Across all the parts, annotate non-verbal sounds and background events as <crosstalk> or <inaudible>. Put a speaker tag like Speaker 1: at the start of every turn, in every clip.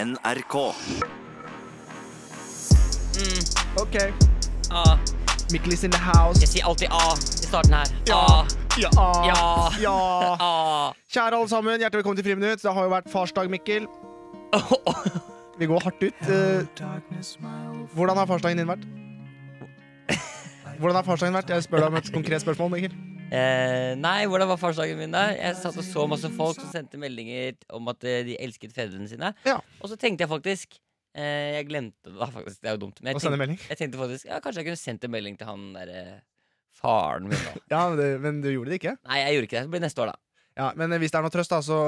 Speaker 1: NRK.
Speaker 2: OK.
Speaker 3: Ah,
Speaker 2: Mikkelis in the house.
Speaker 3: jeg sier alltid A i starten her. A,
Speaker 2: Ja.
Speaker 3: Ja.
Speaker 2: Ja.
Speaker 3: A. <laughs>
Speaker 2: Kjære alle sammen, hjertelig velkommen til Friminutt. Det har jo vært farsdag, Mikkel. Vi går hardt ut. Eh, Hvordan har farsdagen din vært? Hvordan har farsdagen vært? Jeg spør deg om et konkret spørsmål, Mikkel.
Speaker 3: Eh, nei, hvordan var farsdagen min, da? Jeg satt og så masse folk som sendte meldinger om at eh, de elsket fedrene sine.
Speaker 2: Ja.
Speaker 3: Og så tenkte jeg faktisk eh, Jeg glemte det, da, faktisk. Det er jo dumt. Men
Speaker 2: Å
Speaker 3: jeg
Speaker 2: sende
Speaker 3: tenkte,
Speaker 2: melding.
Speaker 3: jeg tenkte faktisk ja, kanskje jeg kunne sendt en melding til han derre faren min,
Speaker 2: <laughs>
Speaker 3: da.
Speaker 2: Ja, men, det, men du gjorde det ikke?
Speaker 3: Nei, jeg gjorde ikke det. Det blir neste år, da.
Speaker 2: Ja, Men hvis det er noe trøst, da, så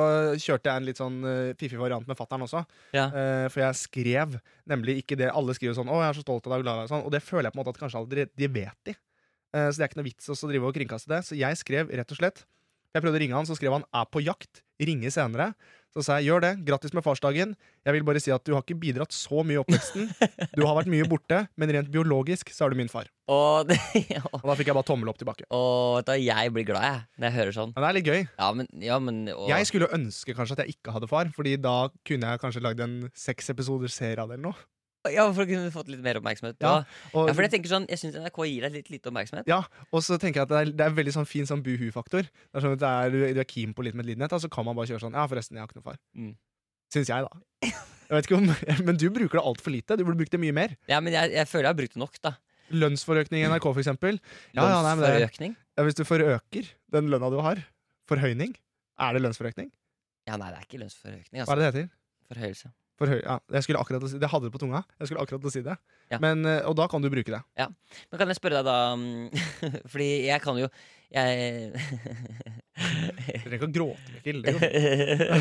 Speaker 2: kjørte jeg en litt sånn eh, fiffig variant med fattern også.
Speaker 3: Ja.
Speaker 2: Eh, for jeg skrev nemlig ikke det alle skriver sånn 'Å, jeg er så stolt av deg', og glad i deg», sånn. Og det føler jeg på en måte at kanskje allerede de vet de. Eh, så det er ikke noe vits også å drive og kringkaste det. Så jeg skrev rett og slett Jeg prøvde å ringe han, så skrev han 'er på jakt', ringe senere. Så sa jeg 'gjør det, grattis med farsdagen'. Jeg vil bare si at du har ikke bidratt så mye i oppveksten. Du har vært mye borte, men rent biologisk så er du min far.
Speaker 3: Og, <laughs> det, og,
Speaker 2: Og da fikk jeg bare tommel opp tilbake.
Speaker 3: og da, jeg blir glad, jeg, når jeg hører sånn.
Speaker 2: Men det er litt gøy.
Speaker 3: Ja, men, ja, men og,
Speaker 2: Jeg skulle jo ønske kanskje at jeg ikke hadde far, Fordi da kunne jeg kanskje lagd en seks episoder serie av det eller noe.
Speaker 3: ja, for å kunne fått litt mer oppmerksomhet.
Speaker 2: Ja,
Speaker 3: og-
Speaker 2: Og
Speaker 3: Ja, for jeg tenker sånn, jeg syns NRK gir deg litt lite oppmerksomhet.
Speaker 2: Ja, og så tenker jeg at det er, det er veldig sånn fin sånn buhu-faktor. Det er sånn at det er, du, du er keen på litt medlidenhet, da, så kan man bare kjøre sånn Ja, forresten, jeg har ikke noen far.
Speaker 3: Mm.
Speaker 2: Syns jeg, da. Jeg vet ikke om, <laughs> men du bruker det altfor lite. Du burde brukt det mye mer.
Speaker 3: Ja, men jeg, jeg føler jeg har brukt det nok, da.
Speaker 2: Lønnsforøkning i NRK, for eksempel. Ja, ja, nei, men det er-
Speaker 3: Lønnsforøkning.
Speaker 2: Ja, hvis du forøker den lønna du har, forhøyning, er det lønnsforøkning?
Speaker 3: Ja, nei, det er ikke lønnsforøkning.
Speaker 2: Hva er
Speaker 3: Altså.
Speaker 2: det det heter?
Speaker 3: Forhøyelse.
Speaker 2: Forhøy, ja, jeg skulle akkurat å si, det hadde det på tunga. Jeg skulle akkurat å si det.
Speaker 3: Ja.
Speaker 2: Men, eh, og da kan du bruke det.
Speaker 3: Men kan jeg spørre deg, da mm, <laughs> Fordi jeg kan jo Jeg
Speaker 2: Du trenger ikke å gråte, Mikkel. Det går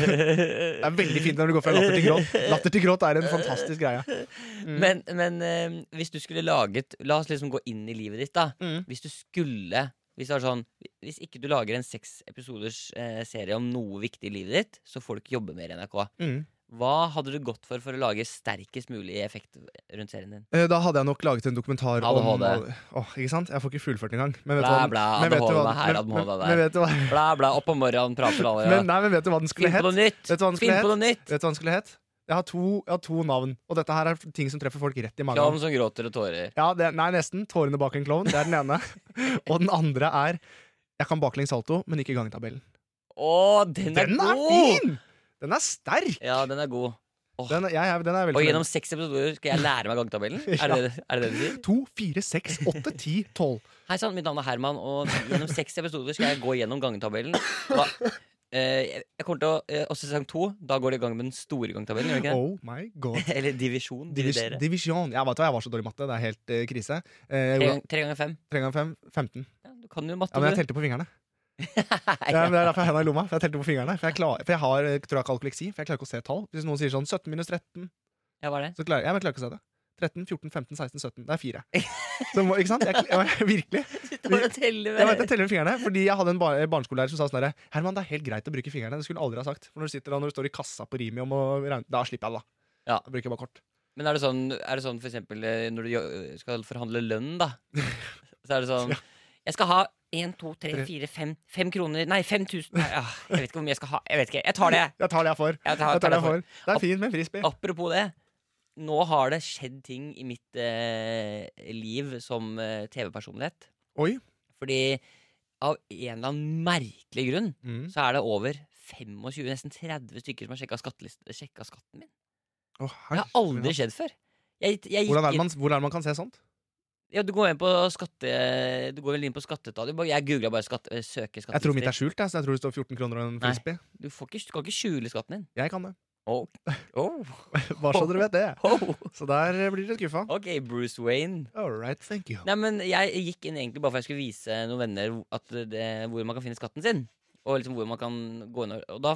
Speaker 2: fint. Det
Speaker 3: Det
Speaker 2: er veldig fint når du går fra latter til gråt. Latter til gråt er en fantastisk greie. Mm.
Speaker 3: Men, men eh, hvis du skulle laget La oss liksom gå inn i livet ditt, da.
Speaker 2: Mm.
Speaker 3: Hvis du skulle Hvis, det var sånn, hvis ikke du lager en seks episoders eh, serie om noe viktig i livet ditt, så får du ikke jobbe mer i NRK.
Speaker 2: Mm.
Speaker 3: Hva hadde du gått for for å lage sterkest mulig effekt rundt serien din?
Speaker 2: Eh, Da hadde jeg nok laget en dokumentar om
Speaker 3: ADHD.
Speaker 2: Åh, Ikke sant? Jeg får ikke fullført engang. Men vet
Speaker 3: Bla,
Speaker 2: du hva den-
Speaker 3: bla,
Speaker 2: men vet
Speaker 3: ADHD
Speaker 2: du hva-
Speaker 3: meg her,
Speaker 2: men- men-
Speaker 3: ADHD der.
Speaker 2: Men vet du hva,
Speaker 3: Bla, bla, opp om morgenen, prater alle.
Speaker 2: men, nei, men vet du hva den skulle
Speaker 3: Finn på noe
Speaker 2: hett?
Speaker 3: nytt!
Speaker 2: Vet du hva den skulle
Speaker 3: Finn på
Speaker 2: hett?
Speaker 3: noe nytt!
Speaker 2: Vet du hva den skulle hett? Jeg har, to, jeg har to navn, og dette her er ting som treffer folk rett i magen.
Speaker 3: Klovn som gråter og tårer.
Speaker 2: Ja, det, nei, nesten. 'Tårene bak en klovn'. Det er den ene. <laughs> og den andre er 'Jeg kan baklengs salto, men ikke gangtabellen'.
Speaker 3: Å, den er
Speaker 2: Den er
Speaker 3: god!
Speaker 2: fin! Den er sterk!
Speaker 3: Ja, den er god. Åh.
Speaker 2: Den, er- jeg, er- den er veldig
Speaker 3: Og
Speaker 2: fornøyd.
Speaker 3: gjennom seks episoder skal jeg lære meg
Speaker 2: <laughs>
Speaker 3: gangtabellen? Er det er det det du sier?
Speaker 2: To, fire, seks, åtte, ti, tolv.
Speaker 3: Hei sann, mitt navn er Herman, og gjennom seks episoder skal jeg gå gjennom gangtabellen. Da, eh, jeg- jeg kommer til å eh, Og sesong to, da går de i gang med den store gangtabellen, gjør de ikke det?
Speaker 2: Oh my god.
Speaker 3: Eller divisjon.
Speaker 2: Divis
Speaker 3: Dividere.
Speaker 2: divisjon. Jeg, vet, hva, jeg var så dårlig i matte. Det er helt eh, krise. Eh, jeg
Speaker 3: Tre,
Speaker 2: gjorde-
Speaker 3: gang- tre ganger fem.
Speaker 2: Tre ganger fem? 15.
Speaker 3: Ja, du kan jo
Speaker 2: Ja,
Speaker 3: matte,
Speaker 2: men jeg
Speaker 3: du.
Speaker 2: telte på fingrene.
Speaker 3: <laughs>
Speaker 2: Ja, men det er derfor jeg har hendene i lomma. For jeg telte på fingrene For jeg, klar, for jeg har eh, tror jeg, kalkuleksi, for jeg klarer ikke å se tall. Hvis noen sier sånn 17 minus 13,
Speaker 3: Ja, hva er det?
Speaker 2: så klarer jeg, men jeg klarer ikke å se det. 13, 14, 15, 16, 17. Det er fire. Så må, ikke sant? Jeg, kl- jeg, <laughs> virkelig.
Speaker 3: Du tar og teller
Speaker 2: Jeg, vet,
Speaker 3: med.
Speaker 2: jeg teller med fingrene Fordi jeg hadde en bar barneskolelærer som sa sånn herre Herman, det er helt greit å bruke fingrene. Det skulle han aldri ha sagt. For når du sitter da, når du står i kassa på Rimi om å regne Da slipper jeg det, da.
Speaker 3: Ja.
Speaker 2: Da bruker jeg bare kort.
Speaker 3: Men er det sånn, er det sånn for eksempel eh, når du jo- skal forhandle lønn, da? Så er det sånn Jeg skal ha én, to, tre,
Speaker 2: Tre.
Speaker 3: fire, fem Fem kroner Nei, 5000. Nei, ah, Jeg vet ikke hvor mye jeg skal ha. Jeg vet ikke. Jeg tar det, jeg.
Speaker 2: Jeg tar det jeg får.
Speaker 3: jeg.
Speaker 2: Jeg
Speaker 3: Tar,
Speaker 2: tar det jeg
Speaker 3: for.
Speaker 2: får. Det er fint med en frisbee.
Speaker 3: Apropos det. Nå har det skjedd ting i mitt eh, liv som eh, TV-personlighet.
Speaker 2: Oi.
Speaker 3: Fordi av en eller annen merkelig grunn
Speaker 2: Mm.
Speaker 3: så er det over 25, nesten 30 stykker som har sjekka skatten min.
Speaker 2: Å,
Speaker 3: Det har aldri skjedd før. Jeg, jeg gikk
Speaker 2: Hvordan er
Speaker 3: inn-
Speaker 2: det man, hvordan er det man kan se sånt?
Speaker 3: Ja, du går inn på skatte... Du går vel inn på skatteetat. Jeg googla bare skatt, eh, 'søke
Speaker 2: Jeg tror mitt er
Speaker 3: skatteregisteret'.
Speaker 2: skjult. Jeg, så jeg tror det står 14 kroner og en
Speaker 3: Nei.
Speaker 2: frisbee.
Speaker 3: Du, får ikke- du kan ikke skjule skatten din.
Speaker 2: Jeg
Speaker 3: <laughs>
Speaker 2: kan det.
Speaker 3: Oh. Oh.
Speaker 2: Bare så dere vet det.
Speaker 3: Oh.
Speaker 2: Så der blir dere skuffa.
Speaker 3: <laughs> Ok, Bruce Wayne.
Speaker 2: All right, thank you.
Speaker 3: Nei, men Jeg gikk inn egentlig bare for jeg skulle vise noen venner at det, hvor man kan finne skatten sin. Og liksom hvor man kan gå inn og, og da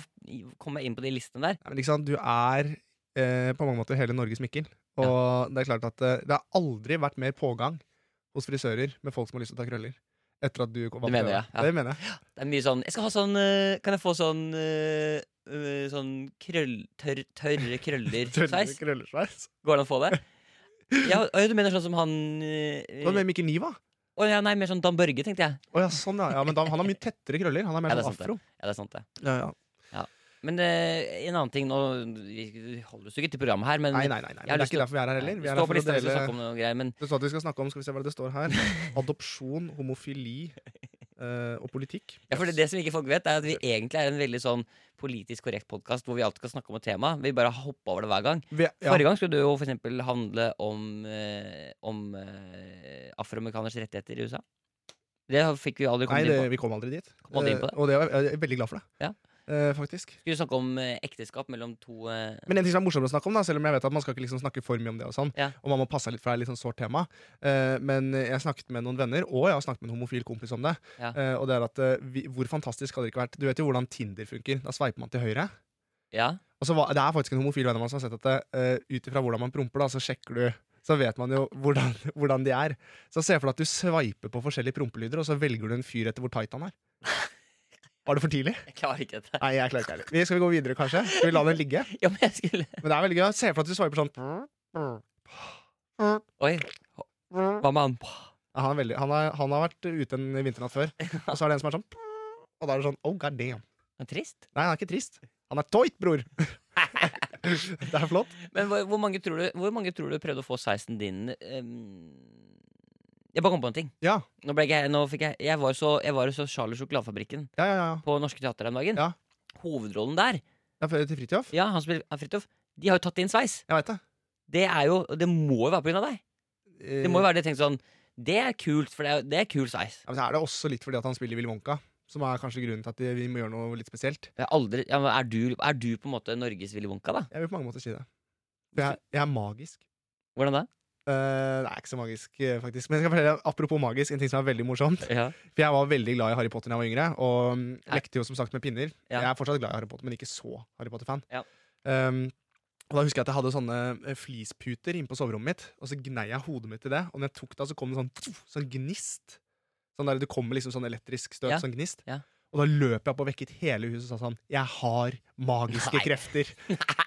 Speaker 3: kom jeg inn på de listene der.
Speaker 2: Nei, men ikke sant, du er eh, på mange måter hele Norges Mikkel. Og det er klart at eh, det har aldri vært mer pågang hos frisører med folk som har lyst til å ta krøller. Etter at du kom
Speaker 3: Det mener jeg, ja.
Speaker 2: Det mener jeg.
Speaker 3: Det er mye sånn Jeg skal ha sånn øh, Kan jeg få sånn øh, øh, Sånn krøll... Tørr, tørre krøller-sveis?
Speaker 2: <laughs> Tørre krøllersveis.
Speaker 3: Går det an å få det? Ja, og du mener sånn som han øh,
Speaker 2: Hva med Mikkel Niva?
Speaker 3: Å ja, nei, mer sånn Dan Børge, tenkte jeg.
Speaker 2: Å ja, sånn ja. ja men da, han har mye tettere krøller. Han er mer
Speaker 3: Ja, det er
Speaker 2: sånn
Speaker 3: sant, det.
Speaker 2: afro.
Speaker 3: Ja, det er sant, det.
Speaker 2: Ja, ja.
Speaker 3: Ja. Men eh, en annen ting nå Vi holder oss jo ikke til programmet her, men
Speaker 2: Nei, nei, nei, nei. men det
Speaker 3: har
Speaker 2: er
Speaker 3: lyst til
Speaker 2: ikke
Speaker 3: å-
Speaker 2: derfor vi er her heller. Vi er
Speaker 3: Stå
Speaker 2: her for
Speaker 3: på
Speaker 2: å
Speaker 3: lista hvis vi skal
Speaker 2: dele
Speaker 3: snakke om noe greier, men
Speaker 2: Det står at vi skal snakke om skal vi se hva det står
Speaker 3: <laughs>
Speaker 2: her. Adopsjon, homofili eh, og politikk.
Speaker 3: ja, for det, det som ikke folk vet, er at vi egentlig er en veldig sånn politisk korrekt podkast hvor vi alltid skal snakke om et tema. Vi bare hopper over det hver gang.
Speaker 2: Vi, ja,
Speaker 3: Forrige gang skulle det jo for eksempel handle om, eh, om eh, afroamerikaners rettigheter i USA. Det fikk vi aldri
Speaker 2: nei,
Speaker 3: kommet
Speaker 2: det,
Speaker 3: inn på.
Speaker 2: vi kom aldri dit.
Speaker 3: Kom aldri inn på det.
Speaker 2: Eh, og det var, jeg er veldig glad for det.
Speaker 3: Ja.
Speaker 2: Eh, faktisk.
Speaker 3: Skulle snakke om eh, ekteskap mellom to eh,
Speaker 2: Men en ting som er morsommere å snakke om, da, selv om jeg vet at man skal ikke liksom snakke for mye om det, og sånn
Speaker 3: Ja.
Speaker 2: Og man må passe litt, for det er litt sånn sårt tema. Eh, men jeg snakket med noen venner, og jeg har snakket med en homofil kompis om det.
Speaker 3: Ja.
Speaker 2: Eh, og det er at eh, vi, Hvor fantastisk hadde det ikke vært? Du vet jo hvordan Tinder funker. Da sveiper man til høyre.
Speaker 3: Ja.
Speaker 2: Og så var, det er faktisk en homofil venn av meg som har sett at det, eh, ut ifra hvordan man promper, da, så sjekker du så vet man jo hvordan, <laughs> hvordan de er. Så se for deg at du sveiper på forskjellige prompelyder, og så velger du en fyr etter hvor tight han er. Var det for tidlig?
Speaker 3: Jeg klarer ikke dette.
Speaker 2: Nei, jeg klarer ikke heller. Vi- Skal vi gå videre, kanskje? Skal vi la den ligge?
Speaker 3: <laughs> Ja, men jeg skulle
Speaker 2: Men det er veldig gøy. Se for deg at du sveiper sånn.
Speaker 3: Oi, hva med han?
Speaker 2: Ja, Han, er veldig, han, er, han har vært ute en vinternatt før, og så er det en som er sånn. Og da er det sånn oh god damn.
Speaker 3: Han er Trist.
Speaker 2: Nei, han er ikke trist. Han er toit, bror! <laughs> Det er flott.
Speaker 3: Men hvor, hvor, mange tror du, hvor mange tror du prøvde å få 16 din ehm, Jeg bare kom på en ting.
Speaker 2: Ja,
Speaker 3: Nå ble jeg, nå fikk jeg, jeg var så, jeg var jo så Charlie Sjokoladefabrikken
Speaker 2: ja, ja. ja.
Speaker 3: på Norske Teater den dagen.
Speaker 2: Ja.
Speaker 3: Hovedrollen der,
Speaker 2: Det er til Fridtjof.
Speaker 3: ja, han spiller han Fridtjof, de har jo tatt inn sveis.
Speaker 2: Jeg veit det.
Speaker 3: Det er jo, det må jo være pga. deg. Det må jo være det tenkt sånn Det er kult, for det er, det er kul sveis.
Speaker 2: Ja, men så er det også litt fordi at han spiller Willy Wonka, som er kanskje grunnen til at vi må gjøre noe litt spesielt.
Speaker 3: Jeg har aldri, ja, men er, du, er du på en måte Norges Willy Wonka, da?
Speaker 2: Jeg vil på mange måter si det. For jeg, jeg er magisk.
Speaker 3: Hvordan da?
Speaker 2: Eh, det er ikke så magisk, eh, faktisk. Men jeg skal fortelle deg, apropos magisk, en ting som er veldig morsomt.
Speaker 3: Ja.
Speaker 2: For jeg var veldig glad i Harry Potter da jeg var yngre, og mm,
Speaker 3: Nei.
Speaker 2: lekte jo som sagt med pinner.
Speaker 3: Ja.
Speaker 2: Jeg er fortsatt glad i Harry Potter, men ikke så Harry Potter-fan.
Speaker 3: Ja.
Speaker 2: Um, og da husker jeg at jeg hadde sånne eh, flisputer inne på soverommet mitt, og så gnei jeg hodet mitt i det, og når jeg tok det, av, så kom det sånn, sånn gnist. Sånn der, det kommer liksom sånn elektrisk støt,
Speaker 3: Ja.
Speaker 2: sånn gnist.
Speaker 3: Ja.
Speaker 2: Og da løp jeg opp og vekket hele huset og sa sånn Jeg har magiske
Speaker 3: <laughs> Nei.
Speaker 2: krefter.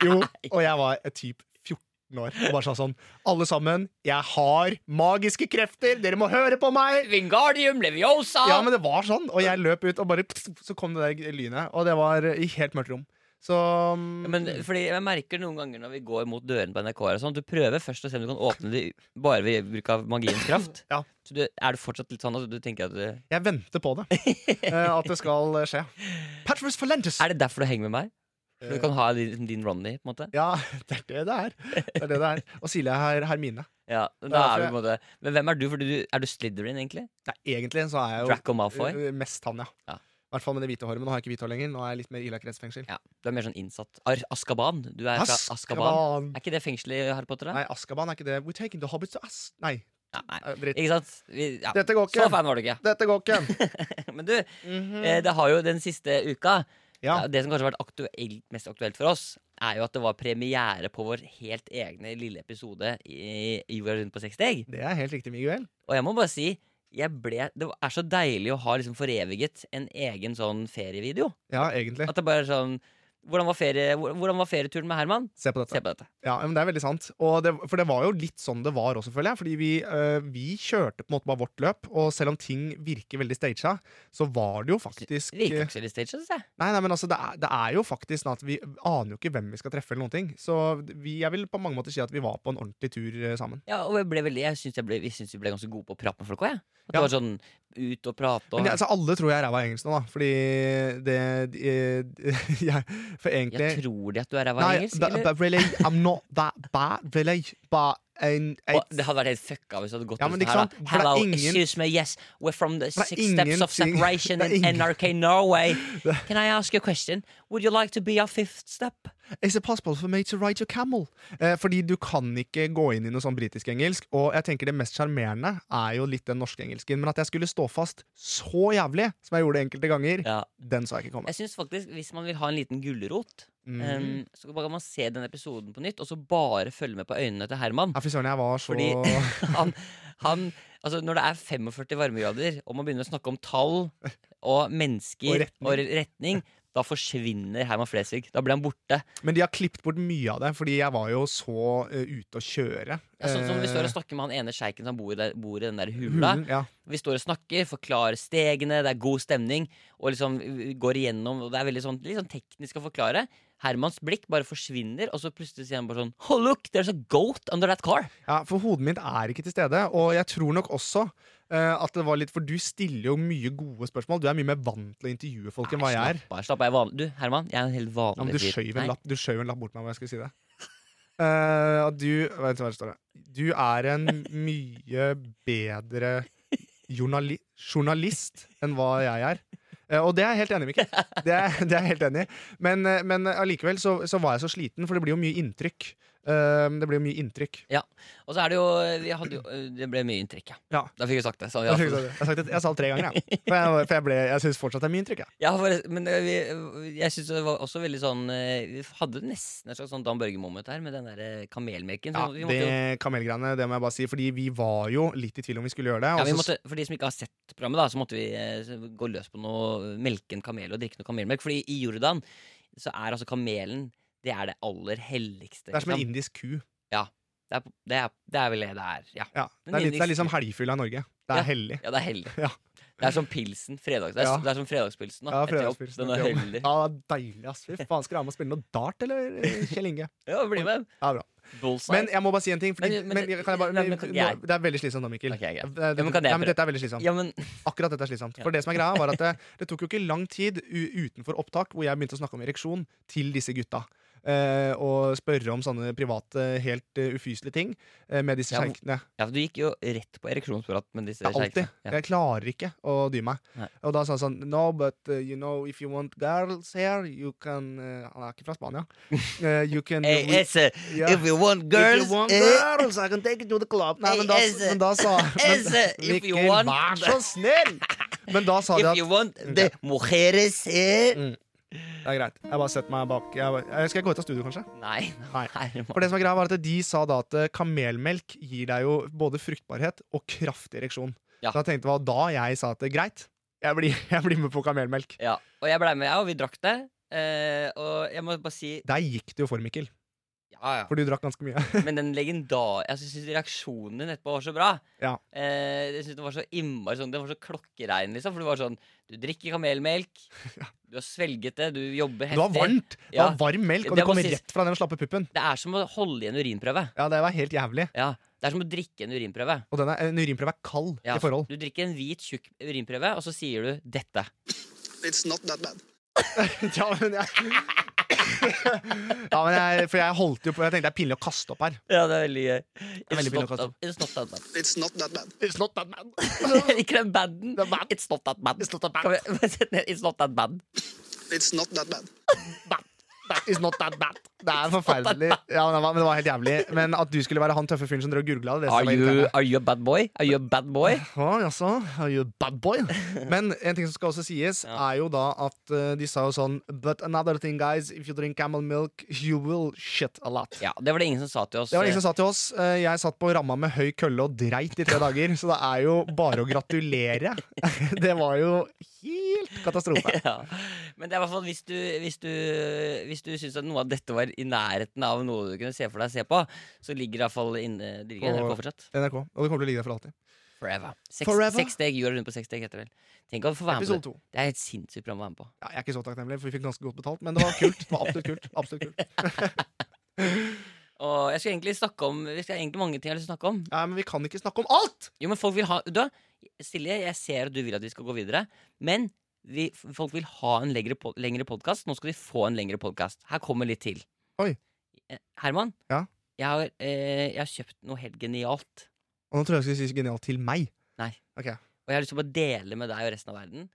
Speaker 2: Jo, og jeg var eh, typ 14 år og bare sa sånn Alle sammen, jeg har magiske krefter! Dere må høre på meg!
Speaker 3: Wingardium Leviosa!
Speaker 2: Ja, men det var sånn, og jeg løp ut, og bare så kom det der lynet. Og det var i helt mørkt rom. Så mm,
Speaker 3: Ja, Men fordi jeg merker noen ganger når vi går mot dørene på NRK her og sånn, at Du prøver først å se om du kan åpne de bare ved bruk av magiens kraft.
Speaker 2: Ja.
Speaker 3: Så du, er det fortsatt litt sånn at du tenker at du-
Speaker 2: jeg venter på
Speaker 3: <laughs>
Speaker 2: det. eh, at det skal eh, skje. Patrus Falentis!
Speaker 3: Er det derfor du henger med meg? For du kan ha din, din Ronny, på en måte?
Speaker 2: Eh, Ja, det er det det er. Det er, det det er. Og Silje er Hermine.
Speaker 3: Ja, men
Speaker 2: Det er
Speaker 3: da er vi
Speaker 2: derfor
Speaker 3: på en måte Men hvem er du? Fordi du er du Slytherin, egentlig?
Speaker 2: Nei, egentlig så er jeg jo
Speaker 3: Draco Malfoy?
Speaker 2: eh, mest han, ja.
Speaker 3: Ja.
Speaker 2: I hvert fall med det hvite håret. Men nå har jeg ikke hvitt hår lenger. Nå er jeg litt mer Ila kretsfengsel.
Speaker 3: Ja, Du er mer sånn innsatt. Ar Askaban? Du er fra Askaban? Er ikke det fengselet i Harry Potter? Da?
Speaker 2: Nei, Askaban er ikke det. We're taking the hobbits to As... Nei,
Speaker 3: Ja, nei.
Speaker 2: eh, dritt.
Speaker 3: Ikke sant? Vi, ja.
Speaker 2: Dette går
Speaker 3: Så
Speaker 2: ikke.
Speaker 3: fan var du ikke.
Speaker 2: Dette går ikke.
Speaker 3: <laughs> Men du,
Speaker 2: Mhm.
Speaker 3: eh, det har jo den siste uka
Speaker 2: Ja.
Speaker 3: Ja, Det som kanskje har vært aktuelt, mest aktuelt for oss, er jo at det var premiere på vår helt egne lille episode i i Jorda rundt på seks steg.
Speaker 2: Det er helt riktig, Miguel.
Speaker 3: Og jeg må bare si jeg ble, det er så deilig å ha liksom foreviget en egen sånn ferievideo.
Speaker 2: Ja, egentlig.
Speaker 3: At det bare er sånn hvordan var, ferie, hvor- hvordan var ferieturen med Herman?
Speaker 2: Se på dette.
Speaker 3: Se på dette.
Speaker 2: Ja, men Det er veldig sant. Og det, for det var jo litt sånn det var også, føler jeg. Fordi vi, eh, vi kjørte på en måte bare vårt løp, og selv om ting virker veldig staged, så var det jo faktisk
Speaker 3: Virker
Speaker 2: eh,
Speaker 3: ikke så litt staged, synes jeg.
Speaker 2: Nei, nei, men altså, det er, det er jo faktisk sånn at vi aner jo ikke hvem vi skal treffe, eller noen ting. Så vi, jeg vil på mange måter si at vi var på en ordentlig tur eh, sammen.
Speaker 3: Ja, og jeg ble veldig, jeg syns jeg ble, vi syns vi ble ganske gode på å prate med folk òg, jeg. At
Speaker 2: Ja.
Speaker 3: det var sånn ut og prate og
Speaker 2: Men jeg, altså, alle tror jeg er ræva i engelsk nå, da. Fordi det de, <laughs> jeg, For egentlig
Speaker 3: Jeg tror de at du er ræva i
Speaker 2: Nei,
Speaker 3: engelsk,
Speaker 2: but,
Speaker 3: eller?
Speaker 2: but really, I'm not that bad, really. But and
Speaker 3: <laughs> Og
Speaker 2: it's
Speaker 3: det hadde vært helt fucka hvis du hadde gått
Speaker 2: Ja,
Speaker 3: ut
Speaker 2: men
Speaker 3: sånn
Speaker 2: ikke
Speaker 3: her.
Speaker 2: sant? For
Speaker 3: da.
Speaker 2: det er
Speaker 3: Hello,
Speaker 2: ingen-
Speaker 3: excuse me, yes, we're from the
Speaker 2: er
Speaker 3: six steps of
Speaker 2: ingenting- <laughs>
Speaker 3: separation
Speaker 2: det er
Speaker 3: in
Speaker 2: ingen-
Speaker 3: NRK
Speaker 2: <laughs>
Speaker 3: Norway. Can I ask you a question? Would you like to be our fifth step?
Speaker 2: Is it possible for me to ride your camel? Eh, fordi du kan ikke gå inn i noe sånn britisk engelsk, og jeg tenker det mest sjarmerende er jo litt den norske engelsken, men at jeg skulle stå fast så jævlig som jeg gjorde enkelte ganger,
Speaker 3: Ja.
Speaker 2: den så jeg ikke komme.
Speaker 3: Jeg synes faktisk, Hvis man vil ha en liten gulrot,
Speaker 2: Mm.
Speaker 3: em, så kan man se den episoden på nytt, og så bare følge med på øynene til Herman.
Speaker 2: Ja, fy søren, jeg var så
Speaker 3: Fordi- <laughs> Han, han, altså Når det er 45 varmegrader, og man begynner å snakke om tall og mennesker
Speaker 2: Og
Speaker 3: og
Speaker 2: retning.
Speaker 3: retning, Da forsvinner Herman Flesvig. Da blir han borte.
Speaker 2: <laughs> Men de har klippet bort mye av det, fordi jeg var jo så eh, ute å kjøre.
Speaker 3: Ja, sånn som vi
Speaker 2: Eh,
Speaker 3: står og
Speaker 2: Mhm.
Speaker 3: snakker med han ene sjeiken som bor, der, bor i den der hula.
Speaker 2: hulen, ja.
Speaker 3: Vi står og snakker, forklarer stegene, det er god stemning. Og liksom vi går igjennom, og det er veldig sånn, litt sånn teknisk å forklare. Hermans blikk bare forsvinner, og så plutselig sier han bare sånn Oh look, there's a goat under that car!
Speaker 2: Ja, for hodet mitt er ikke til stede, og jeg tror nok også eh, at det var litt For du stiller jo mye gode spørsmål. Du er mye mer vant til å intervjue folk enn hva jeg er.
Speaker 3: Slapp av, slapp av. Jeg er van... Du, Herman, jeg er en helt
Speaker 2: Ja,
Speaker 3: vanlig
Speaker 2: men du
Speaker 3: fyr.
Speaker 2: skjøv
Speaker 3: Nei.
Speaker 2: en lapp, du skjøv en lapp bort meg hvor jeg skulle si det. Eh, og du Vent, hva står det? Du er en mye bedre journali journalist enn hva jeg er. Eh, og det er jeg helt enig i, Mikkel. Det er, det er jeg helt enig i. Men, eh, men allikevel så, så var jeg så sliten, for det blir jo mye inntrykk. Eh, det blir jo mye inntrykk.
Speaker 3: Og så er det jo, vi hadde jo Det ble mye inntrykk, ja.
Speaker 2: Ja. altså.
Speaker 3: Da fikk vi sagt det. Så vi
Speaker 2: Jeg,
Speaker 3: har
Speaker 2: har sagt det, jeg sa det tre ganger, jeg. For jeg, for jeg, ble- jeg syns fortsatt det er mye inntrykk. Jeg.
Speaker 3: Ja, for, men eh, vi, jeg syns det var også veldig sånn eh, Vi hadde nesten et slags sånn Dan Børge-moment her med den der eh, kamelmelken.
Speaker 2: Ja,
Speaker 3: så vi måtte jo-
Speaker 2: det kamelgreiene, det må jeg bare si. Fordi vi var jo litt i tvil om vi skulle gjøre det.
Speaker 3: ja,
Speaker 2: og
Speaker 3: vi
Speaker 2: så-
Speaker 3: måtte, for de som ikke har sett programmet, da, så måtte vi eh, så gå løs på noe melke en kamel og drikke noe kamelmelk. Fordi i Jordan så er altså kamelen det er det aller helligste.
Speaker 2: det er som en
Speaker 3: liksom.
Speaker 2: indisk ku.
Speaker 3: det, er, det, er, det er vel det det er. Ja.
Speaker 2: Ja,
Speaker 3: En
Speaker 2: det, er litt, det er
Speaker 3: indisk
Speaker 2: liksom helgfylla i Norge. Det er hellig.
Speaker 3: ja, det er hellig.
Speaker 2: <laughs> Ja.
Speaker 3: Det er som pilsen. Fredags, det, er,
Speaker 2: Ja.
Speaker 3: det er som fredagspilsen. Da,
Speaker 2: Ja,
Speaker 3: etter jobb.
Speaker 2: fredagspilsen
Speaker 3: Den er
Speaker 2: etter jobb.
Speaker 3: hellig.
Speaker 2: Ja, det er deilig, ass. Fy faen, skal du ha med å spille noe dart, eller, eh, Kjell Inge?
Speaker 3: Ja, bli med.
Speaker 2: Ja, bra.
Speaker 3: Bullseye.
Speaker 2: <laughs> Men jeg må bare si en ting. Fordi,
Speaker 3: Men-
Speaker 2: men,
Speaker 3: men-
Speaker 2: kan jeg bare,
Speaker 3: Nei, men kan-
Speaker 2: nå-
Speaker 3: jeg-
Speaker 2: det er veldig slitsomt nå, Mikkel.
Speaker 3: Ok, greit.
Speaker 2: Det- det-
Speaker 3: Ja, men kan jeg
Speaker 2: nei, men
Speaker 3: prøve?
Speaker 2: dette er veldig slitsomt.
Speaker 3: ja, men
Speaker 2: Akkurat dette er slitsomt.
Speaker 3: Ja.
Speaker 2: For det som er greia var at det, det tok jo ikke lang tid u utenfor opptak hvor jeg begynte å snakke om ereksjon, til disse gutta. Eh, og spørre om sånne private, helt eh, ufyselige ting eh, med disse
Speaker 3: Ja, hvor-
Speaker 2: sjeikene.
Speaker 3: Ja, for du gikk jo rett på ereksjonsapparat med disse
Speaker 2: Ja, alltid.
Speaker 3: sjeikene. Ja.
Speaker 2: Jeg klarer ikke å dy meg.
Speaker 3: Nei.
Speaker 2: Og da sa han sånn No, but uh, you know, if you want girls here, you can uh, Han er ikke fra
Speaker 3: <laughs>
Speaker 2: Spania. Eh, you can
Speaker 3: Hey,
Speaker 2: we-
Speaker 3: Esse,
Speaker 2: yeah.
Speaker 3: if you want
Speaker 2: If
Speaker 3: girls,
Speaker 2: you want
Speaker 3: eh,
Speaker 2: girls, I can take you to the club. Nei,
Speaker 3: Hey,
Speaker 2: men da,
Speaker 3: Eze.
Speaker 2: men da sa
Speaker 3: <laughs>
Speaker 2: men,
Speaker 3: Eze, eh, if you
Speaker 2: Mikkel,
Speaker 3: want-
Speaker 2: vær
Speaker 3: <laughs>
Speaker 2: så snill! Men da sa de
Speaker 3: if
Speaker 2: at
Speaker 3: you want the mujeres eh.
Speaker 2: Det er greit. Jeg bare setter meg bak. Jeg bare, jeg skal jeg gå ut av studio, kanskje?
Speaker 3: Nei, <laughs>
Speaker 2: Nei. For
Speaker 3: Herman.
Speaker 2: det som er greia var at De sa da at eh, kamelmelk gir deg jo både fruktbarhet og kraftig ereksjon.
Speaker 3: Ja.
Speaker 2: Så jeg tenkte det var da jeg sa at det er greit, jeg blir, <laughs> jeg blir med på kamelmelk.
Speaker 3: Ja, og jeg ble med, jeg, og vi drakk det. Eh, og jeg må bare si
Speaker 2: Der gikk det jo for, Mikkel.
Speaker 3: ja, ja.
Speaker 2: For du drakk ganske
Speaker 3: <laughs>
Speaker 2: mye.
Speaker 3: Men den legendar... Jeg syns reaksjonen din etterpå var så bra.
Speaker 2: Ja.
Speaker 3: Eh, jeg synes Den var så innmari sånn Den var så klokkerein, liksom. For du var sånn Du drikker kamelmelk.
Speaker 2: <laughs>
Speaker 3: Du har svelget det. Du jobber
Speaker 2: Det var
Speaker 3: heftig.
Speaker 2: varmt! Det
Speaker 3: Ja.
Speaker 2: var varm melk, og
Speaker 3: Det
Speaker 2: det
Speaker 3: må
Speaker 2: kom
Speaker 3: sies-
Speaker 2: rett fra den slappe puppen.
Speaker 3: Det er som å holde i en urinprøve.
Speaker 2: Ja, Det var helt jævlig.
Speaker 3: Ja, Det er som å drikke en urinprøve.
Speaker 2: Og denne, en urinprøve er kald
Speaker 3: Ja,
Speaker 2: i forhold. <laughs>
Speaker 3: Du drikker en hvit, tjukk urinprøve, og så sier du dette.
Speaker 1: It's not that bad.
Speaker 2: ja, men jeg... ja, men jeg, for jeg holdt jo på Jeg tenkte det er pinlig å kaste opp her. <laughs>
Speaker 3: Ja, det er veldig gøy.
Speaker 2: er veldig
Speaker 3: It's
Speaker 2: pinlig å
Speaker 3: not
Speaker 2: kaste
Speaker 3: that,
Speaker 2: opp.
Speaker 3: it's not that bad.
Speaker 1: It's not that bad.
Speaker 2: It's not that man.
Speaker 3: <laughs> Ikke den baden.
Speaker 2: The bad.
Speaker 3: It's not that bad.
Speaker 2: It's not that bad.
Speaker 3: Kan vi <laughs> bare sette ned It's not that bad.
Speaker 1: It's not that bad.
Speaker 2: It's not that bad. Det er forferdelig. Ja, men det, var, men det var helt jævlig. Men at du skulle være han tøffe fyren som drev og googla det, det som
Speaker 3: Are
Speaker 2: var
Speaker 3: you,
Speaker 2: irriterende.
Speaker 3: are you a bad boy? Are you a bad
Speaker 2: <laughs>
Speaker 3: boy?
Speaker 2: Ja, jaså. Are you a bad
Speaker 3: <laughs>
Speaker 2: boy? Men en ting som skal også sies,
Speaker 3: Ja.
Speaker 2: er jo da at eh, de sa jo sånn But another thing, guys. If you drink camel milk, you will shit a lot.
Speaker 3: Ja, Det var det ingen som sa til oss.
Speaker 2: Det var ingen som sa til oss. eh, Jeg satt på ramma med høy kølle og dreit i tre dager, så det er jo bare å gratulere. <laughs> Det var jo helt katastrofe.
Speaker 3: <laughs> ja. Men det er i hvert fall hvis du, hvis du, hvis du syns at noe av dette var i nærheten av noe du kunne se for deg se på, så ligger det iallfall inne det ligger
Speaker 2: På-
Speaker 3: i NRK fortsatt.
Speaker 2: NRK. Og det kommer til å ligge der for alltid.
Speaker 3: Forever. Seks,
Speaker 2: Forever?
Speaker 3: seks steg, gjør det rundt på seks steg, heter det vel. Tenk å få være med på
Speaker 2: Episode
Speaker 3: det.
Speaker 2: to.
Speaker 3: Det er et sinnssykt program å være med på.
Speaker 2: Ja, jeg er ikke så takknemlig, for vi fikk ganske godt betalt, men det var kult. Det var absolutt kult. Absolutt kult.
Speaker 3: Og jeg skal egentlig snakke om Vi skal egentlig mange ting jeg har lyst til å snakke om.
Speaker 2: Nei, men vi kan ikke snakke om alt!
Speaker 3: Jo, men folk vil ha Du, Silje, jeg ser at du vil at vi skal gå videre, men vi, folk vil ha en lengre, pod- lengre podkast. Nå skal de få en lengre podkast. Her kommer litt til.
Speaker 2: Oi.
Speaker 3: Eh, Herman,
Speaker 2: Ja?
Speaker 3: jeg, har, eh, jeg har kjøpt noe helt genialt.
Speaker 2: Og nå tror jeg jeg skulle si genialt til meg.
Speaker 3: Og jeg har lyst til å bare dele med deg og resten av verden.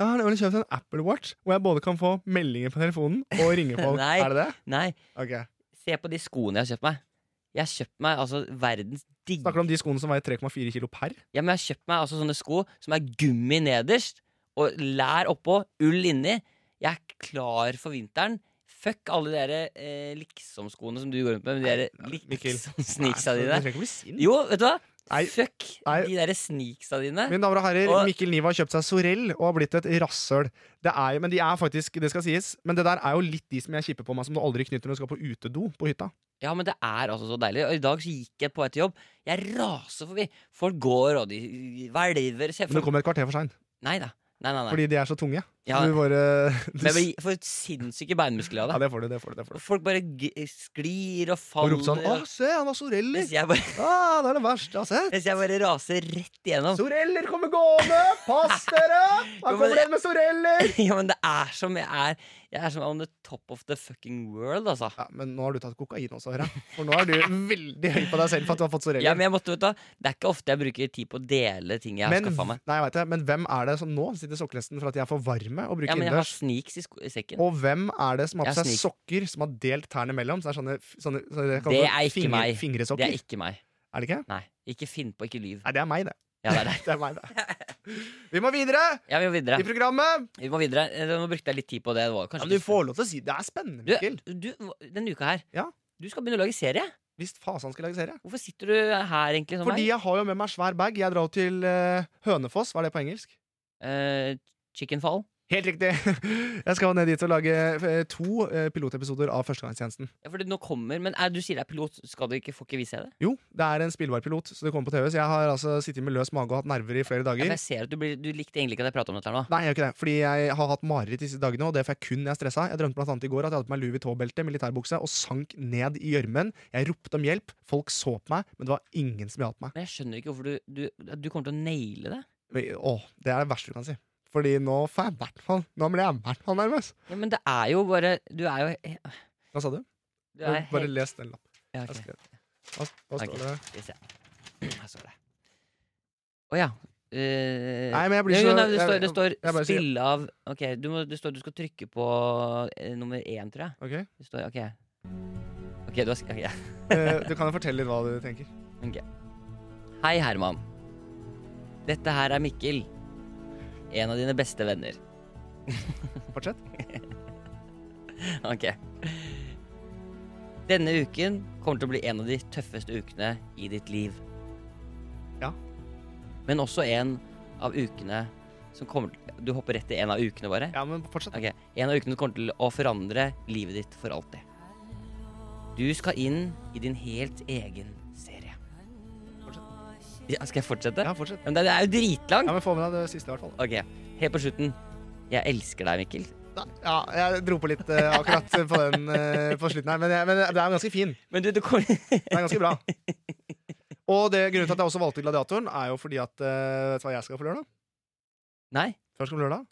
Speaker 2: Jeg har nemlig kjøpt en Apple Watch hvor jeg både kan få meldinger på telefonen og
Speaker 3: <laughs>
Speaker 2: ringe folk.
Speaker 3: Nei.
Speaker 2: Er det det?
Speaker 3: Nei,
Speaker 2: Ok.
Speaker 3: se på de skoene jeg har kjøpt meg. Jeg har kjøpt meg altså verdens digg...
Speaker 2: Snakker du om de skoene som veier 3,4 kilo per?
Speaker 3: Ja, men jeg har kjøpt meg altså sånne sko som er gummi nederst og lær oppå, ull inni. Jeg er klar for vinteren. Fuck alle de der eh, liksom-skoene som du går rundt med. med De der li-
Speaker 2: Mikkel.
Speaker 3: liksom-sneaksa
Speaker 2: Nei,
Speaker 3: dine.
Speaker 2: Du trenger ikke bli sint.
Speaker 3: Jo, vet du hva?
Speaker 2: Nei.
Speaker 3: Fuck
Speaker 2: Nei.
Speaker 3: de der sneaksa dine.
Speaker 2: Mine damer og herrer,
Speaker 3: Og-
Speaker 2: Mikkel Niva har kjøpt seg Sorell og har blitt et rasshøl. Det er, jo- men de er faktisk, det skal sies, men det der er jo litt de som jeg kipper på meg som du aldri knytter når du skal på utedo på hytta.
Speaker 3: Ja, men det er altså så deilig. Og i dag så gikk jeg på vei til jobb. Jeg raser forbi. Folk går, og de hvelver. Se,
Speaker 2: Men du
Speaker 3: folk-
Speaker 2: kommer et kvarter for seint,
Speaker 3: Nei da. Nei, nei, nei.
Speaker 2: fordi de er så tunge.
Speaker 3: Ja.
Speaker 2: Du bare, du,
Speaker 3: Men
Speaker 2: <laughs>
Speaker 3: jeg blir- får sinnssyke beinmuskler av
Speaker 2: ja,
Speaker 3: det.
Speaker 2: det får du, det får du. det får du.
Speaker 3: Og Folk bare g sklir og
Speaker 2: Og
Speaker 3: faller.
Speaker 2: ropte sånn
Speaker 3: og-
Speaker 2: Å, se, han har soreller!
Speaker 3: mens, jeg bare, <laughs>
Speaker 2: Ah, det er det verste jeg har sett!
Speaker 3: mens jeg bare raser rett igjennom.
Speaker 2: Soreller kommer gående! Pass dere!
Speaker 3: Jo, men
Speaker 2: Han kommer
Speaker 3: det-
Speaker 2: en med soreller!
Speaker 3: <laughs> Ja, men det er som jeg er. Jeg er som on the top of the fucking world, altså.
Speaker 2: Ja, men nå har du tatt kokain også, Hera. For nå er du veldig høy på deg selv for at du har fått soreller.
Speaker 3: Ja, men jeg måtte, vet du, hva, Det er ikke ofte jeg bruker tid på å dele ting jeg har
Speaker 2: Men,
Speaker 3: skaffa meg.
Speaker 2: nei, jeg vet det, men hvem er det som nå sitter i sokkelesten for at de er for varme å bruke
Speaker 3: Ja, men jeg har
Speaker 2: innendørs?
Speaker 3: sneaks i, sko i sekken.
Speaker 2: Og hvem er det som har
Speaker 3: Jeg
Speaker 2: på
Speaker 3: har
Speaker 2: seg
Speaker 3: sneak.
Speaker 2: sokker som har delt tærne imellom? Så det er sånne, sånne, sånne jeg kaller
Speaker 3: Det
Speaker 2: for
Speaker 3: er ikke meg. Det
Speaker 2: Fingresokker?
Speaker 3: er
Speaker 2: Er,
Speaker 3: ikke meg.
Speaker 2: det ikke?
Speaker 3: Nei. Ikke finn på, ikke lyv.
Speaker 2: Nei, det er meg, det.
Speaker 3: Ja, det er det.
Speaker 2: <laughs> det, er meg, det. Vi må videre
Speaker 3: Ja, vi må videre.
Speaker 2: i programmet!
Speaker 3: Vi må videre. Eh, Nå brukte jeg litt tid på det. det
Speaker 2: Ja,
Speaker 3: var kanskje
Speaker 2: men du
Speaker 3: ikke-
Speaker 2: får lov til å si det. Det er spennende, Mikkel.
Speaker 3: du, du, Denne uka her,
Speaker 2: Ja.
Speaker 3: du skal begynne å lage serie.
Speaker 2: Hvis fasen skal lage serie.
Speaker 3: Hvorfor sitter du her, egentlig? Som
Speaker 2: Fordi
Speaker 3: meg?
Speaker 2: jeg har jo med meg svær bag. Jeg drar jo til eh, Hønefoss. Hva er det på engelsk?
Speaker 3: Eh, chicken fall.
Speaker 2: Helt riktig! <laughs> Jeg skal ned dit og lage eh, to eh, pilotepisoder av Førstegangstjenesten.
Speaker 3: Ja, fordi nå kommer Men er, du sier det er pilot, skal du ikke, får ikke vi se det?
Speaker 2: Jo, det er en spillbar pilot, så det kommer på TV. Så jeg har altså sittet med løs mage og hatt nerver i flere
Speaker 3: Ja,
Speaker 2: dager.
Speaker 3: for jeg ser at du, blir, du likte egentlig ikke at jeg prata om dette her nå.
Speaker 2: Nei, jeg gjør ikke det, fordi jeg har hatt mareritt disse dagene, og det får jeg kun når jeg er stressa. Jeg drømte blant annet i går at jeg hadde på meg Louis Vuitton-belte, militærbukse, og sank ned i gjørmen. Jeg ropte om hjelp, folk så på meg, men det var ingen som hjalp meg.
Speaker 3: Men jeg skjønner ikke hvorfor du Du, du kommer til å naile det.
Speaker 2: Men, åh, det er det verste du kan si. Fordi nå får jeg i hvert fall Nå ble jeg i hvert fall nervøs.
Speaker 3: Ja, men det er jo bare Du er jo he-
Speaker 2: Hva sa du?
Speaker 3: du er
Speaker 2: Bare
Speaker 3: helt-
Speaker 2: les den lappen.
Speaker 3: ja,
Speaker 2: Jeg
Speaker 3: ok.
Speaker 2: skrev det. Hva, hva
Speaker 3: Ok.
Speaker 2: står det?
Speaker 3: Skal vi se. Her står det. Å ja. Eh,
Speaker 2: Nei, men jeg blir
Speaker 3: jo, jo,
Speaker 2: så-
Speaker 3: nei, det,
Speaker 2: jeg-
Speaker 3: står, det står
Speaker 2: jeg bare sier-
Speaker 3: 'spille av' Ok, du, må, det står, du skal trykke på eh, nummer én, tror jeg.
Speaker 2: Ok.
Speaker 3: Det står, ok Ok, du har sk- ok.
Speaker 2: Eh, Du kan jo fortelle litt hva du tenker.
Speaker 3: Hei, Herman. Dette her er Mikkel. En av dine beste venner.
Speaker 2: Fortsett.
Speaker 3: Ok. Denne uken kommer til å bli en av de tøffeste ukene i ditt liv.
Speaker 2: Ja.
Speaker 3: Men også en av ukene som kommer til Du hopper rett til en av ukene, bare?
Speaker 2: Ja, men fortsett.
Speaker 3: Ok, En av ukene som kommer til å forandre livet ditt for alltid. Du skal inn i din helt egen serie. Ja, skal jeg fortsette?
Speaker 2: Ja, fortsett.
Speaker 3: Men det det er jo dritlang!
Speaker 2: Ja, men Få med deg det siste, i hvert fall.
Speaker 3: Ok, helt på slutten. Jeg elsker deg, Mikkel.
Speaker 2: Da- Ja, jeg dro på litt eh, akkurat på den eh, på slutten her, men, jeg, men det er ganske fin.
Speaker 3: Men du, du
Speaker 2: <laughs>
Speaker 3: kommer
Speaker 2: Den er ganske
Speaker 3: <laughs>
Speaker 2: bra. Og det, grunnen til at jeg også valgte Gladiatoren, er jo fordi at eh, Vet du hva jeg skal på lørdag?
Speaker 3: Nei?
Speaker 2: Først om lørdag.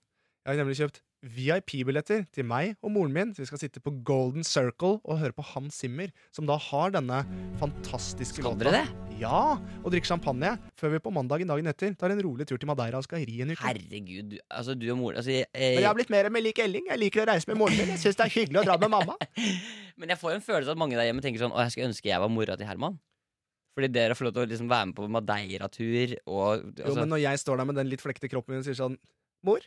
Speaker 2: Jeg har nemlig kjøpt VIP-billetter til meg og moren min, så vi skal sitte på Golden Circle og høre på Hans Zimmer, som da har denne fantastiske
Speaker 3: Kan dere det?
Speaker 2: Ja, og drikke champagne før vi på mandagen dagen etter tar en rolig tur til Madeira og skal ri en uke.
Speaker 3: Herregud, du- altså du og moren altså, jeg, eh,
Speaker 2: Men jeg har blitt mer med lik Elling. Jeg liker å reise med moren min. Jeg syns det er hyggelig å dra med
Speaker 3: <laughs>
Speaker 2: mamma.
Speaker 3: <gasps> Men jeg får en følelse av at mange der hjemme tenker sånn Å, jeg skulle ønske jeg var mora til Herman. Fordi dere får lov til å liksom være med på Madeira-tur og
Speaker 2: Jo,
Speaker 3: altså,
Speaker 2: men når jeg står der med den litt flekte kroppen min og sier sånn Mor,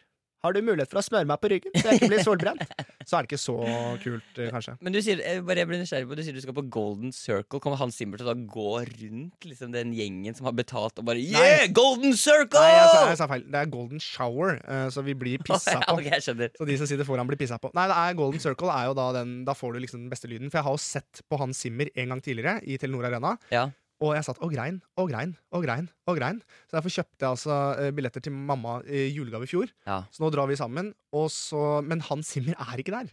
Speaker 2: har du mulighet for å smøre meg på ryggen så jeg ikke blir
Speaker 3: <laughs>
Speaker 2: solbrent? Så er det ikke så kult, eh, kanskje.
Speaker 3: Men du sier, jeg bare jeg blir nysgjerrig på Du sier du skal på Golden Circle. Kommer Hans Zimmer til å da gå rundt liksom, den gjengen som har betalt, og bare Yeah! Golden Circle!
Speaker 2: Nei, altså, jeg sa, jeg sa feil. Det er golden shower, eh, så vi blir pissa
Speaker 3: <laughs> Ja,
Speaker 2: på.
Speaker 3: ok, jeg skjønner.
Speaker 2: Så de som sitter foran, blir pissa på. Nei, det er Golden Circle er jo da den Da får du liksom den beste lyden. For jeg har jo sett på Hans Zimmer en gang tidligere i Telenor Arena.
Speaker 3: Ja.
Speaker 2: Og jeg satt og grein og grein og grein. og grein Så derfor kjøpte jeg altså eh, billetter til mamma i julegave i fjor.
Speaker 3: Ja.
Speaker 2: Så nå drar vi sammen. Og så, men Hans Zimmer er ikke der.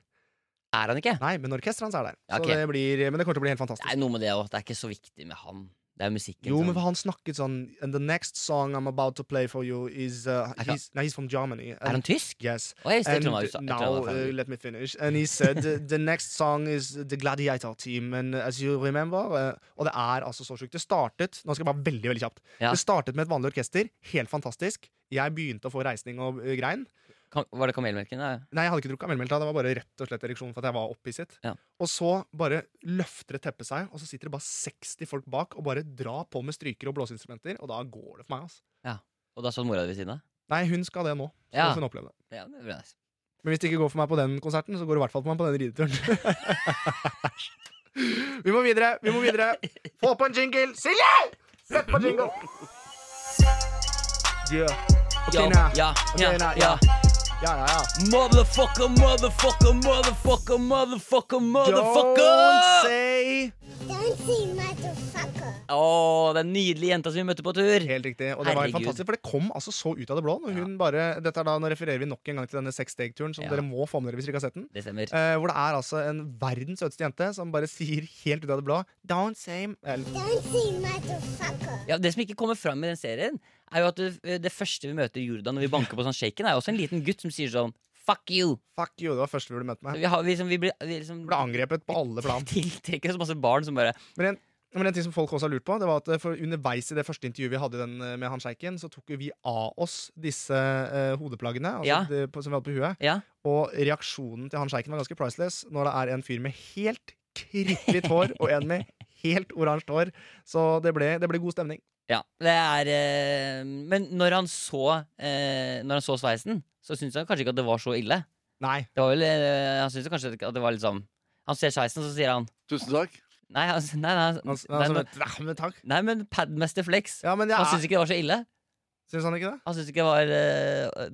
Speaker 3: Er han ikke?
Speaker 2: Nei, men orkesteret hans er der.
Speaker 3: Ja, ok.
Speaker 2: Så det blir, men det kommer til å bli helt
Speaker 3: Det er
Speaker 2: fantastisk.
Speaker 3: noe med det òg. Det er ikke så viktig med han. Det er musikken.
Speaker 2: Jo, men
Speaker 3: som-
Speaker 2: han snakket sånn And the next song I'm about to play for you is uh,
Speaker 3: Er ikke-
Speaker 2: he's, Nei, he's from Germany.
Speaker 3: Er han
Speaker 2: And,
Speaker 3: tysk?
Speaker 2: yes.
Speaker 3: Å, jeg
Speaker 2: And
Speaker 3: trodde han var USA. Jeg trodde han
Speaker 2: now
Speaker 3: var fra-
Speaker 2: uh, let me finish. And he said the, the next song is The Gladiator Team. And as you remember uh, Og det er altså så sjukt. Det startet Nå skal jeg bare veldig veldig kjapt.
Speaker 3: Ja.
Speaker 2: Det startet med et vanlig orkester. Helt fantastisk. Jeg begynte å få reisning og uh, grein.
Speaker 3: Kam- Var det kamelmelken? da?
Speaker 2: Nei, jeg hadde ikke drukket melmelta. Det var bare rett og slett ereksjon for at jeg var opphisset.
Speaker 3: Ja.
Speaker 2: Og så bare løfter det teppet seg, og så sitter det bare 60 folk bak og bare drar på med stryker og blåseinstrumenter, og da går det for meg, altså.
Speaker 3: Og da satt mora di ved siden av?
Speaker 2: Nei, hun skal det nå. Så
Speaker 3: Ja.
Speaker 2: får hun oppleve det.
Speaker 3: Ja, det er bra, nice.
Speaker 2: Men hvis det ikke går for meg på den konserten, så går det i hvert fall for meg på den rideturen. <laughs> vi må videre, vi må videre. Få på en jingle! Silje! Sett på jingle! Yeah. Ok,
Speaker 3: Ja,
Speaker 2: nå.
Speaker 3: ja,
Speaker 2: Ok,
Speaker 3: ja,
Speaker 2: nå,
Speaker 3: ja.
Speaker 2: Ja, ja, ja.
Speaker 3: Motherfucker, motherfucker, motherfucker, motherfucker,
Speaker 2: Don't
Speaker 3: motherfucker!
Speaker 2: say
Speaker 4: Don't say motherfucker.
Speaker 3: Å, den nydelige jenta som vi møtte på tur.
Speaker 2: Helt riktig. Og det var helt
Speaker 3: Herregud.
Speaker 2: fantastisk, for det kom altså så ut av det blå. Når hun bare, dette er da, nå refererer vi nok en gang til denne seks steg-turen, som
Speaker 3: Ja.
Speaker 2: dere må få med dere hvis dere ikke har sett den.
Speaker 3: Det stemmer.
Speaker 2: Eh, hvor det er altså en verdens søteste jente som bare sier helt ut av det blå Don't same Eller,
Speaker 4: Don't say motherfucker.
Speaker 3: Ja, Det som ikke kommer fram i den serien, er jo at det, det første vi møter Jordan når vi banker på sånn shaken, er jo også en liten gutt som sier sånn Fuck you!
Speaker 2: Fuck you, det var første vi ble møtt med.
Speaker 3: Vi, har, vi, liksom, vi blir vi liksom,
Speaker 2: Vi Ble angrepet på alle plan.
Speaker 3: <laughs> tiltrekker oss masse barn som bare
Speaker 2: Men en, men en ting som folk også har lurt på, det var at eh, for underveis i det første intervjuet vi hadde i den, eh, med han sjeiken, så tok jo vi av oss disse eh, hodeplaggene altså
Speaker 3: Ja.
Speaker 2: det, på, som vi hadde på huet.
Speaker 3: Ja,
Speaker 2: Og reaksjonen til han sjeiken var ganske priceless når det er en fyr med helt kritthvitt hår og en med helt oransje hår. Så det ble, det ble god stemning.
Speaker 3: ja det er eh, Men når han så eh, Når han så sveisen, så syntes han kanskje ikke at det var så ille.
Speaker 2: Nei.
Speaker 3: Det var vel, eh, han syntes kanskje at det var litt sånn Han ser sveisen, så sier han
Speaker 5: Tusen takk.
Speaker 3: Nei, han, nei, nei, han-
Speaker 2: Han, han,
Speaker 3: Mm, nei, men-
Speaker 2: sånn, "Tja, men takk.
Speaker 3: nei men Padmaster Flex.
Speaker 2: Ja, men jeg
Speaker 3: Han
Speaker 2: er
Speaker 3: syntes ikke det var så ille.
Speaker 2: Syns han ikke det?
Speaker 3: Han syntes ikke det var eh,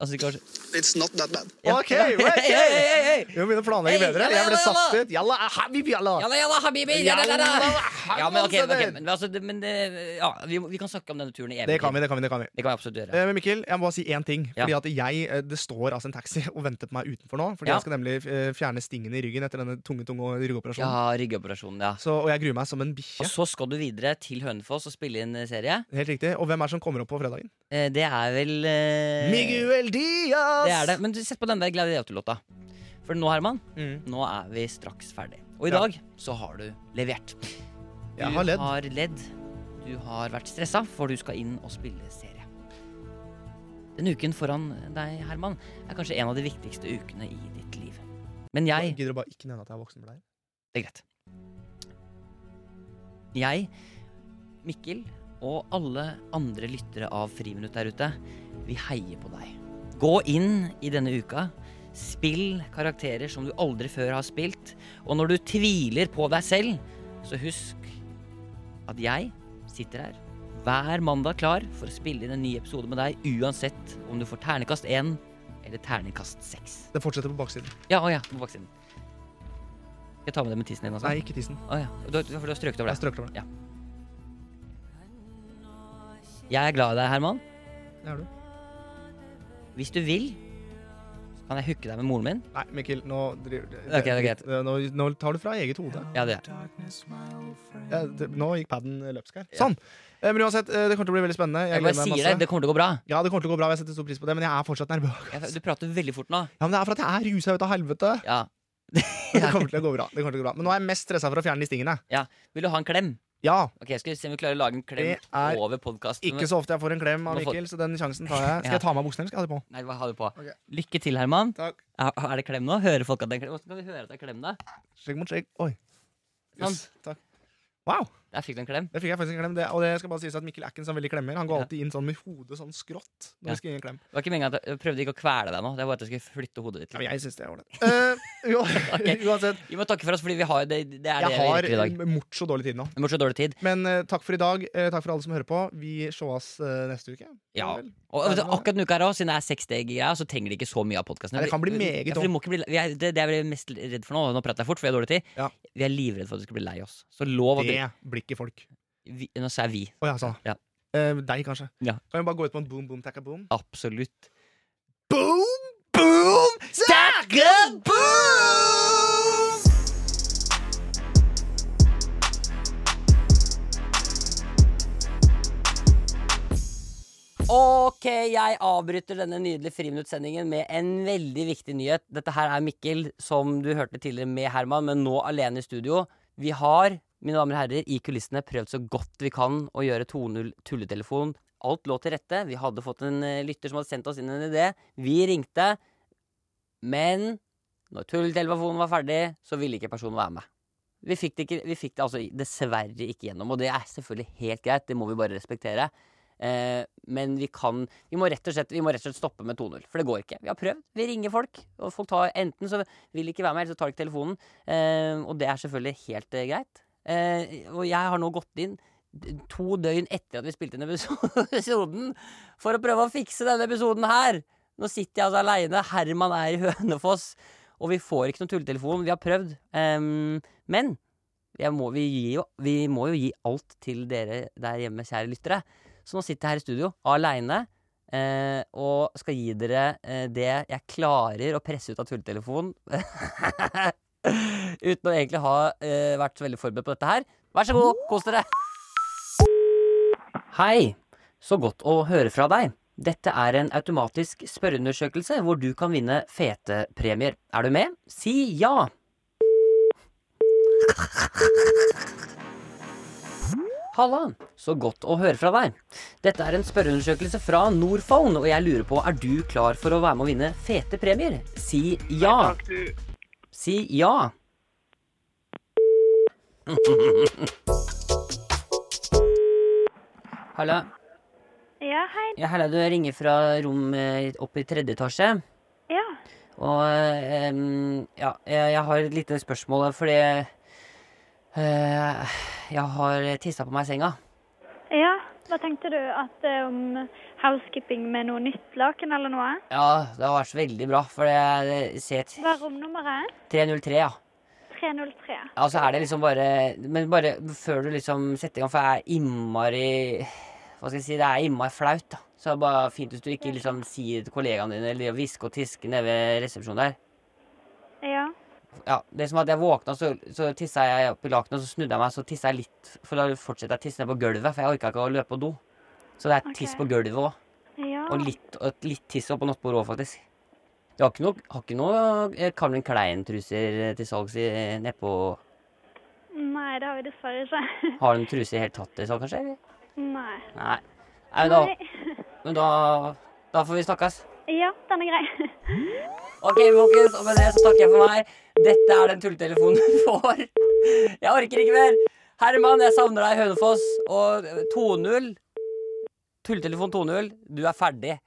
Speaker 3: Han syntes ikke det var så
Speaker 1: It's not that bad.
Speaker 3: Ja.
Speaker 2: Ok,
Speaker 3: <laughs>
Speaker 2: ok.
Speaker 3: Hey, hey, hey, hey.
Speaker 2: Vi må begynne å planlegge
Speaker 3: Hey,
Speaker 2: bedre.
Speaker 3: jalla,
Speaker 2: Jeg ble
Speaker 3: jalla,
Speaker 2: satt
Speaker 3: jalla.
Speaker 2: ut. Jalla, habib, jalla.
Speaker 3: Jalla, jalla, habibi!
Speaker 2: Jalla,
Speaker 3: Jalla, jalla.
Speaker 2: jalla,
Speaker 3: Ja, men ok,
Speaker 2: jalla,
Speaker 3: ok, men, altså, det, men det, ja, vi, vi kan snakke om denne turen i evig
Speaker 2: Det kan vi, det kan vi. det kan vi
Speaker 3: Det kan vi absolutt gjøre.
Speaker 2: Eh, Men Mikkel, jeg må bare si én ting.
Speaker 3: Ja.
Speaker 2: Fordi at jeg, eh, Det står altså en taxi <laughs> og venter på meg utenfor nå. Fordi
Speaker 3: Ja.
Speaker 2: Jeg skal nemlig eh, fjerne stingene i ryggen etter denne tunge tunge
Speaker 3: Ja,
Speaker 2: ryggoperasjonen.
Speaker 3: ryggoperasjonen, ja.
Speaker 2: Så, og jeg gruer meg som en
Speaker 3: Og
Speaker 2: bikkje.
Speaker 3: så skal du videre til Hønefoss og spille inn eh, serie.
Speaker 2: Helt riktig. Og hvem er det som kommer opp på fredagen?
Speaker 3: Eh, Det er vel eh,
Speaker 2: Miguel Diaz!
Speaker 3: Det er det. Men du, sett på den der Gladiator-låta. For nå, Herman,
Speaker 2: Mm.
Speaker 3: nå er vi straks ferdig. Og i
Speaker 2: Ja.
Speaker 3: dag så har du levert.
Speaker 2: Jeg har ledd.
Speaker 3: Du har ledd. Du har vært stressa, for du skal inn og spille serie. Denne uken foran deg, Herman, er kanskje en av de viktigste ukene i ditt liv. Men jeg
Speaker 2: Jeg gidder du bare ikke nevne at jeg er voksen for deg?
Speaker 3: Det er greit. Jeg, Mikkel og alle andre lyttere av Friminutt der ute, vi heier på deg. Gå inn i denne uka. Spill karakterer som du aldri før har spilt. Og når du tviler på deg selv, så husk at jeg sitter her hver mandag klar for å spille inn en ny episode med deg, uansett om du får ternekast 1 eller ternekast 6.
Speaker 2: Det fortsetter på baksiden.
Speaker 3: Ja, å ja, på baksiden. Skal jeg ta med det med tissen din? Altså?
Speaker 2: Nei, ikke tissen.
Speaker 3: Å ja. du, du, for du har strøket over
Speaker 2: Jeg
Speaker 3: det.
Speaker 2: strøk over det.
Speaker 3: Jeg er glad i deg, Herman.
Speaker 2: det er du.
Speaker 3: Hvis du vil, så kan jeg hooke deg med moren min.
Speaker 2: Nei, Mikkel, nå driver
Speaker 3: Ok, det er greit.
Speaker 2: Nå, nå tar du fra eget hode.
Speaker 3: Ja, det gjør jeg.
Speaker 2: Ja, det, nå gikk paden løpsk her. Sånn! Eh, Men uansett, eh, det kommer til å bli veldig spennende. Jeg
Speaker 3: Jeg bare
Speaker 2: gleder
Speaker 3: sier
Speaker 2: meg
Speaker 3: deg,
Speaker 2: masse.
Speaker 3: det kommer til å gå bra.
Speaker 2: Ja, det kommer til å gå bra. Jeg setter stor pris på det, men jeg er fortsatt nervøs.
Speaker 3: Jeg, du prater veldig fort nå.
Speaker 2: Ja, men Det er for at jeg er rusa ut av
Speaker 3: <laughs>
Speaker 2: helvete.
Speaker 3: Ja.
Speaker 2: Det kommer til å gå bra. det kommer til å gå bra Men nå er jeg mest stressa for å fjerne de stingene.
Speaker 3: ja. Vil du ha en klem?
Speaker 2: Ja,
Speaker 3: Ok, Skal vi se om vi klarer å lage en klem
Speaker 2: Det er
Speaker 3: over podkasten.
Speaker 2: Ikke så ofte jeg får en klem av
Speaker 3: Nå får-
Speaker 2: Mikkel, så den sjansen tar jeg. Skal
Speaker 3: Ja.
Speaker 2: jeg ta av meg buksene, eller skal jeg ha det på?
Speaker 3: Nei, hva har du på?
Speaker 2: Ok.
Speaker 3: Lykke til, Herman.
Speaker 2: Takk.
Speaker 3: Er, er det klem nå? Hører folk at det er klem? Hvordan kan vi høre at det er klem, da?
Speaker 2: Skjegg mot skjegg. Oi.
Speaker 3: Sånn.
Speaker 2: Yes. Takk. Wow,
Speaker 3: Der fikk du en klem.
Speaker 2: det fikk jeg faktisk en klem. Det, og det skal bare sies at Mikkel er ikke en sånn veldig klemmer. Han går
Speaker 3: Ja.
Speaker 2: alltid inn sånn med hodet sånn skrått. Når
Speaker 3: Ja.
Speaker 2: vi skal gi en klem
Speaker 3: Det var ikke meningen at jeg jeg prøvde ikke å kvele deg nå. Det er bare at jeg skulle flytte hodet ditt
Speaker 2: Ja, men
Speaker 3: litt.
Speaker 2: jeg syns det er ålreit. Eh, jo-
Speaker 3: <laughs> Ok.
Speaker 2: <laughs> Uansett,
Speaker 3: Vi må takke for oss, fordi vi har, det, det
Speaker 2: jeg
Speaker 3: er det vi rekker i
Speaker 2: har
Speaker 3: dag.
Speaker 2: morso dårlig tid nå.
Speaker 3: Vi må så dårlig tid.
Speaker 2: Men eh, takk for i dag. Eh, takk for alle som hører på. Vi sees eh, neste uke.
Speaker 3: Ja.
Speaker 2: Vel?
Speaker 3: Og vet du, akkurat denne uka her også, Siden det er seks steg i greia, så trenger de ikke så mye av podkasten.
Speaker 2: Nei, det kan bli meget
Speaker 3: ja, for de må ikke bli, vi er, det, det er jeg mest redd for nå, og nå prater jeg fort, for vi har dårlig tid.
Speaker 2: Ja.
Speaker 3: Vi er livredde for at du skal bli lei oss. Så lov at du
Speaker 2: Det blir ikke folk.
Speaker 3: vi, Nå sa jeg vi.
Speaker 2: Å ja, sa
Speaker 3: Ja.
Speaker 2: Eh, Deg, kanskje.
Speaker 3: Ja.
Speaker 2: Kan vi bare gå ut på en boom, boom, takka, boom?
Speaker 3: Absolutt.
Speaker 2: Boom, boom, takka, boom!
Speaker 3: Ok, jeg avbryter denne nydelige friminuttsendingen med en veldig viktig nyhet. Dette her er Mikkel, som du hørte tidligere med Herman, men nå alene i studio. Vi har, mine damer og herrer, i kulissene prøvd så godt vi kan å gjøre 2.0 tulletelefon. Alt lå til rette. Vi hadde fått en eh, lytter som hadde sendt oss inn en idé. Vi ringte, men når tulletelefonen var ferdig, så ville ikke personen være med. Vi fikk, det ikke, vi fikk det altså dessverre ikke gjennom, og det er selvfølgelig helt greit. Det må vi bare respektere. Eh, men vi kan vi må, rett og slett, vi må rett og slett stoppe med 2-0, for det går ikke. Vi har prøvd. Vi ringer folk, og folk tar enten så vil de ikke være med, eller så tar de ikke telefonen. Eh, og det er selvfølgelig helt eh, greit. Eh, og jeg har nå gått inn to døgn etter at vi spilte inn episoden, for å prøve å fikse denne episoden her. Nå sitter jeg altså aleine. Herman er i Hønefoss. Og vi får ikke noen tulletelefon. Vi har prøvd. Ehm, men jeg må, vi, gir jo, vi må jo gi alt til dere der hjemme, kjære lyttere. Så nå sitter jeg her i studio aleine eh, og skal gi dere eh, det jeg klarer å presse ut av tulletelefonen. <laughs> Uten å egentlig ha eh, vært så veldig forberedt på dette her. Vær så god, kos dere! Hei! Så godt å høre fra deg. Dette er en automatisk spørreundersøkelse hvor du kan vinne fete premier. Er du med? Si ja! Halla! Så godt å høre fra deg. Dette er en spørreundersøkelse fra Norphone, og jeg lurer på er du klar for å være med å vinne fete premier? Si ja!
Speaker 5: Takk, du.
Speaker 3: Si ja! <laughs> Hallo.
Speaker 5: Ja, hei.
Speaker 3: Ja, Hella, du ringer fra rom eh, oppe i tredje etasje.
Speaker 5: Ja.
Speaker 3: Og eh, em, ja, jeg, jeg har et lite spørsmål, fordi eh, Jeg har tissa på meg i senga.
Speaker 5: ja. Hva tenkte du? At eh, om housekeeping med noe nytt laken eller noe?
Speaker 3: Ja, det har vært så veldig bra, for jeg ser et
Speaker 5: Hva er romnummeret?
Speaker 3: 303, ja.
Speaker 5: 303.
Speaker 3: Ja, så er det liksom bare Men bare før du liksom setter i gang, for jeg er innmari Hva skal jeg si, det er innmari flaut, da. Så det er bare fint hvis du ikke liksom sier til kollegaene dine eller hvisker og tisker nede ved resepsjonen der.
Speaker 5: Ja.
Speaker 3: ja, det er som at jeg våkna, så, så tissa jeg opp i lakenet, og så snudde jeg meg, så tissa jeg litt. For da fortsetter jeg å tisse ned på gulvet, for jeg orka ikke å løpe på do. Så det er
Speaker 5: Ok.
Speaker 3: tiss på gulvet òg.
Speaker 5: Ja.
Speaker 3: Og litt, og et- litt tiss opp på nattbordet òg, faktisk. Jeg har ikke noe, har ikke noe eh, Calvin Klein-truser eh, til salgs i- nedpå
Speaker 5: Nei, det har vi dessverre ikke.
Speaker 3: Har de truser helt tatt til salg, kanskje? eller?
Speaker 5: Nei.
Speaker 3: Nei. Nei, men da,
Speaker 5: Nei. <laughs>
Speaker 3: men da, da får vi snakkes.
Speaker 5: Ja, den er grei.
Speaker 3: Ok, folkens, og med det så takker jeg for meg. Dette er den tulletelefonen du får. Jeg orker ikke mer. Herman, jeg savner deg i Hønefoss. Og 2-0 Tulletelefon 2-0, du er ferdig.